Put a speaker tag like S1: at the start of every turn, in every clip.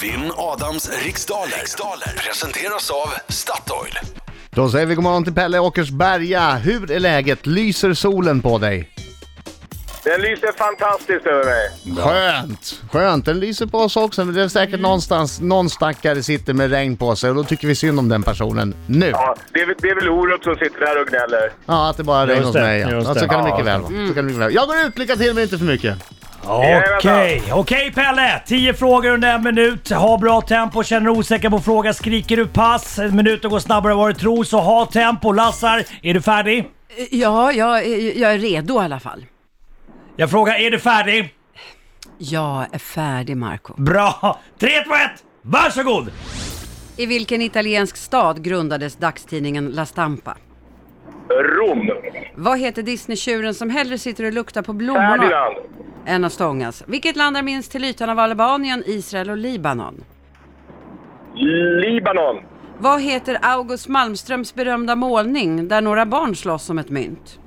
S1: Vinn Adams riksdaler. riksdaler presenteras av Statoil.
S2: Då säger vi god morgon till Pelle Åkersberga. Hur är läget? Lyser solen på dig?
S3: Den lyser fantastiskt över mig.
S2: Skönt! Skönt, den lyser på oss också. Men det är säkert
S4: Mm.
S2: någonstans, någon stackare sitter med regn på sig och då tycker vi synd om den personen nu.
S3: Ja, det, är, väl- det är väl Orup som sitter där och gnäller.
S2: Ja, att det bara regnar
S4: Just
S2: hos
S4: det,
S2: mig. Ja.
S4: just
S2: Ja, så
S4: det.
S2: kan det mycket väl vara. Så kan det mycket väl. Jag går ut, lycka till men inte för mycket.
S4: Okej, okej Pelle! 10 frågor under en minut. Ha bra tempo, känner du osäker på fråga skriker du pass. Minuten går snabbare än vad du tror, så ha tempo. Lassar, är du färdig?
S5: Ja, jag, är- jag är redo i alla fall.
S4: Jag frågar, är du färdig?
S5: Jag är färdig, Marco.
S4: Bra! 3, 2, 1! Varsågod!
S5: I vilken italiensk stad grundades dagstidningen La Stampa?
S3: Rom.
S5: Vad heter Disneytjuren som hellre sitter och luktar på blommorna
S3: Ferdinand.
S5: än att stångas? Vilket land är minst till ytan av Albanien, Israel och Libanon?
S3: Libanon.
S5: Vad heter August Malmströms berömda målning där några barn slåss om ett mynt?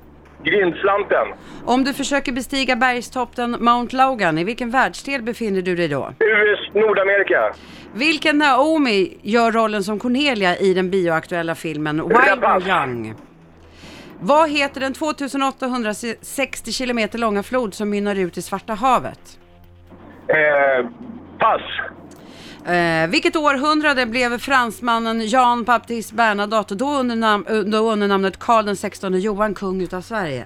S3: Grindslanten.
S5: Om du försöker bestiga bergstoppen Mount Logan, i vilken världsdel befinner du dig då?
S3: US, Nordamerika.
S5: Vilken Naomi gör rollen som Cornelia i den bioaktuella filmen Wild
S3: Rapace.
S5: and Young? Vad heter den 2860 kilometer långa flod som mynnar ut i Svarta havet?
S3: Eh, pass.
S5: Eh, vilket århundrade blev fransmannen Jean Baptiste Bernadotte, då under, nam- eh, då under namnet Karl XVI Johan, kung utav Sverige?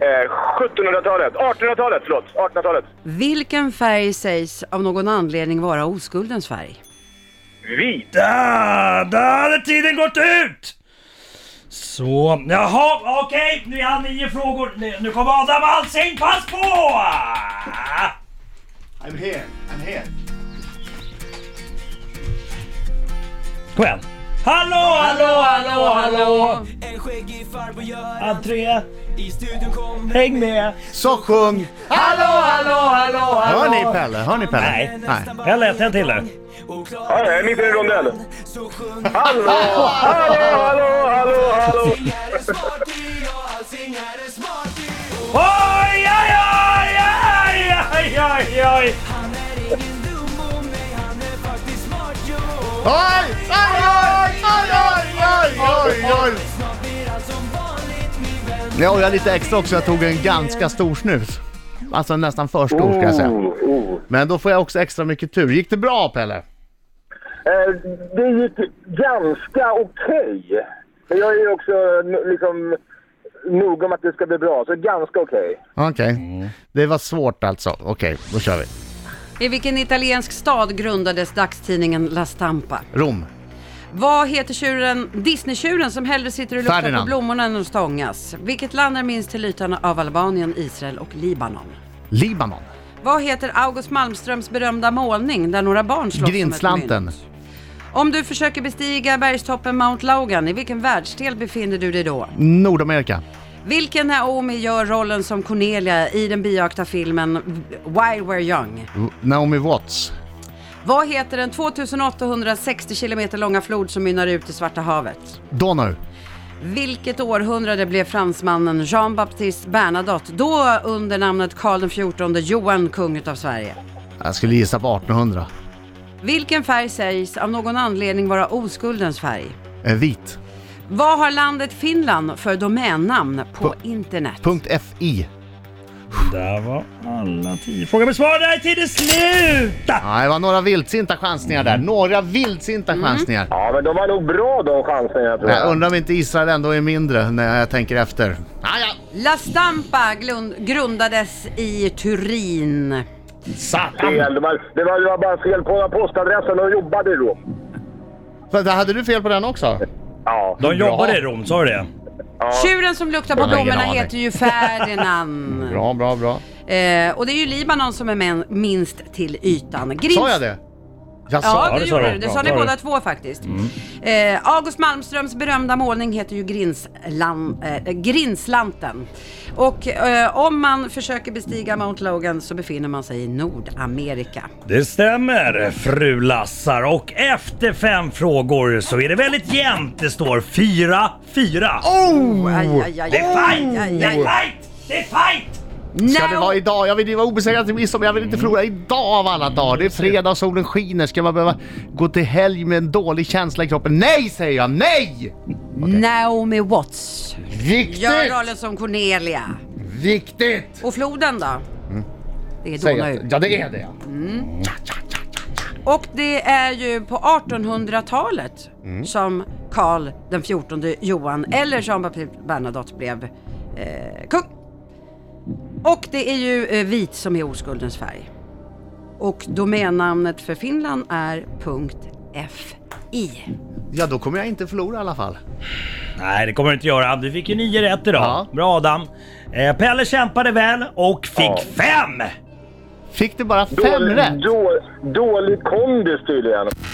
S3: Eh, 1700-talet. 1800-talet, förlåt. 1800-talet.
S5: Vilken färg sägs av någon anledning vara oskuldens färg?
S3: Vit.
S4: Där, där hade tiden gått ut! Så, jaha, okej, nu är han nio frågor. Nu- Nu kommer Adam Alsing, pass på!
S2: I'm here, I'm here.
S4: Kom igen. Hallå, hallå, hallå, hallå!
S6: En skäggig farbror Göran
S4: Entré,
S6: I studion kommer
S4: häng med!
S2: Så sjung!
S4: Hallå, hallå, hallå,
S2: Hör ni Pelle? Hör ni Pelle?
S4: Nej.
S2: Nej.
S4: Pelle, ett, en till där.
S6: och
S3: Ja,
S6: klarar
S3: jag är mitt i en rondell.
S6: Så sjunger
S3: Hallå, hallå, hallå, hallå, hallå.
S6: är en smarty och Alsing är en smarty Och
S4: Oj, oj, oj, oj, oj, oj, oj!
S6: han är ingen dum och nej han är faktiskt smart jo
S2: Oj, oj, oj, oj, oj, oj, oj, oj.
S6: Snart blir allt som vanligt min vän
S2: Ja, och jag är lite extra också. Jag tog en ganska stor snus. Alltså nästan för stor ska jag säga.
S3: Oh, oh.
S2: Men då får jag också extra mycket tur. Gick det bra Pelle?
S3: Eh, det gick ganska okej. Men jag är ju också n- liksom noga om att det ska bli bra, så ganska okej.
S2: Okej.
S5: Mm.
S2: Det var svårt alltså. Okej, då kör vi.
S5: I vilken italiensk stad grundades dagstidningen La Stampa?
S2: Rom.
S5: Vad heter tjuren, Disneytjuren som hellre sitter och luktar
S2: Ferdinand.
S5: på blommorna än att stångas? Vilket land är minst till ytan av Albanien, Israel och Libanon?
S2: Libanon.
S5: Vad heter August Malmströms berömda målning där några barn slåss om ett
S2: Grindslanten.
S5: mynt? Om du försöker bestiga bergstoppen Mount Logan, i vilken världsdel befinner du dig då?
S2: Nordamerika.
S5: Vilken Naomi gör rollen som Cornelia i den bioakta filmen While We're Young?
S2: Naomi Watts.
S5: Vad heter den 2860 kilometer långa flod som mynnar ut i Svarta havet?
S2: Donau.
S5: Vilket århundrade blev fransmannen Jean Baptiste Bernadotte, då under namnet Karl XIV Johan, kung utav Sverige?
S2: Jag skulle gissa på 1800.
S5: Vilken färg sägs av någon anledning vara oskuldens färg?
S2: Eh, vit.
S5: Vad har landet Finland för domännamn på internet?
S2: Punkt FI.
S4: Där var alla tio frågor besvarade. Där är tiden slut!
S2: Ja, det var några vildsinta chansningar
S5: Mm.
S2: där. Några vildsinta chansningar.
S3: Ja, men de var nog bra de chanserna tror
S2: Jag
S3: jag.
S2: undrar om inte Israel ändå är mindre när jag tänker efter. Ah, ja.
S5: La Stampa glund- grundades i Turin.
S2: Satan!
S3: Fel. Det, var, det, var, det var bara fel på postadressen. De jobbade i Rom.
S2: Så där Hade du fel på den också?
S3: Ja.
S4: De jobbar i Rom, sa du det?
S5: Tjuren som luktar på
S2: Jag har ingen
S5: blommorna
S2: aning.
S5: heter ju Ferdinand.
S2: Bra, bra, bra.
S5: eh, och det är ju Libanon som är men- minst till ytan. Grins-
S2: Sa jag det? Jag sa
S5: Ja,
S4: Ja,
S5: det
S4: det sa
S5: gjorde
S4: du.
S5: du. Det
S4: Bra,
S5: sa ni
S4: bra.
S5: båda två faktiskt. Eh, August Malmströms berömda målning heter ju Grinslan, eh, Grinslanten. Och eh, om man försöker bestiga Mount Logan så befinner man sig i Nordamerika.
S4: Det stämmer, fru Lassar. Och efter fem frågor så är det väldigt jämnt. Det står 4-4.
S5: Aj, aj, aj,
S4: Det är
S5: aj,
S4: fight!
S5: aj,
S4: Det är
S5: aj.
S4: fight! Det är fight!
S2: Ska det
S5: No.
S2: vara idag? Jag vill vara obesegrad till midsommar. Jag vill inte förlora idag av alla dagar. Det är fredag och solen skiner. Ska man behöva gå till helg med en dålig känsla i kroppen? Nej säger jag! Nej!
S5: Naomi Watts.
S2: Viktigt!
S5: Gör rollen som Cornelia.
S2: Viktigt!
S5: Och floden då? Det är
S2: Säg
S5: Donau.
S2: att, ja det är det ja.
S5: Och det är ju på 1800-talet som Karl den 14 Johan, eller Jean Baptiste Bernadotte, blev eh, kung. Och det är ju eh, vit som är oskuldens färg. Och domännamnet för Finland är .fi.
S2: Ja då kommer jag inte förlora i alla fall.
S4: Nej, det kommer du inte göra. Du fick ju nio rätt idag.
S2: Ja.
S4: Bra Adam. Eh, Pelle kämpade väl och fick fem!
S2: Fick du bara fem
S3: Dålig,
S2: rätt?
S3: då, dålig kondis tydligen.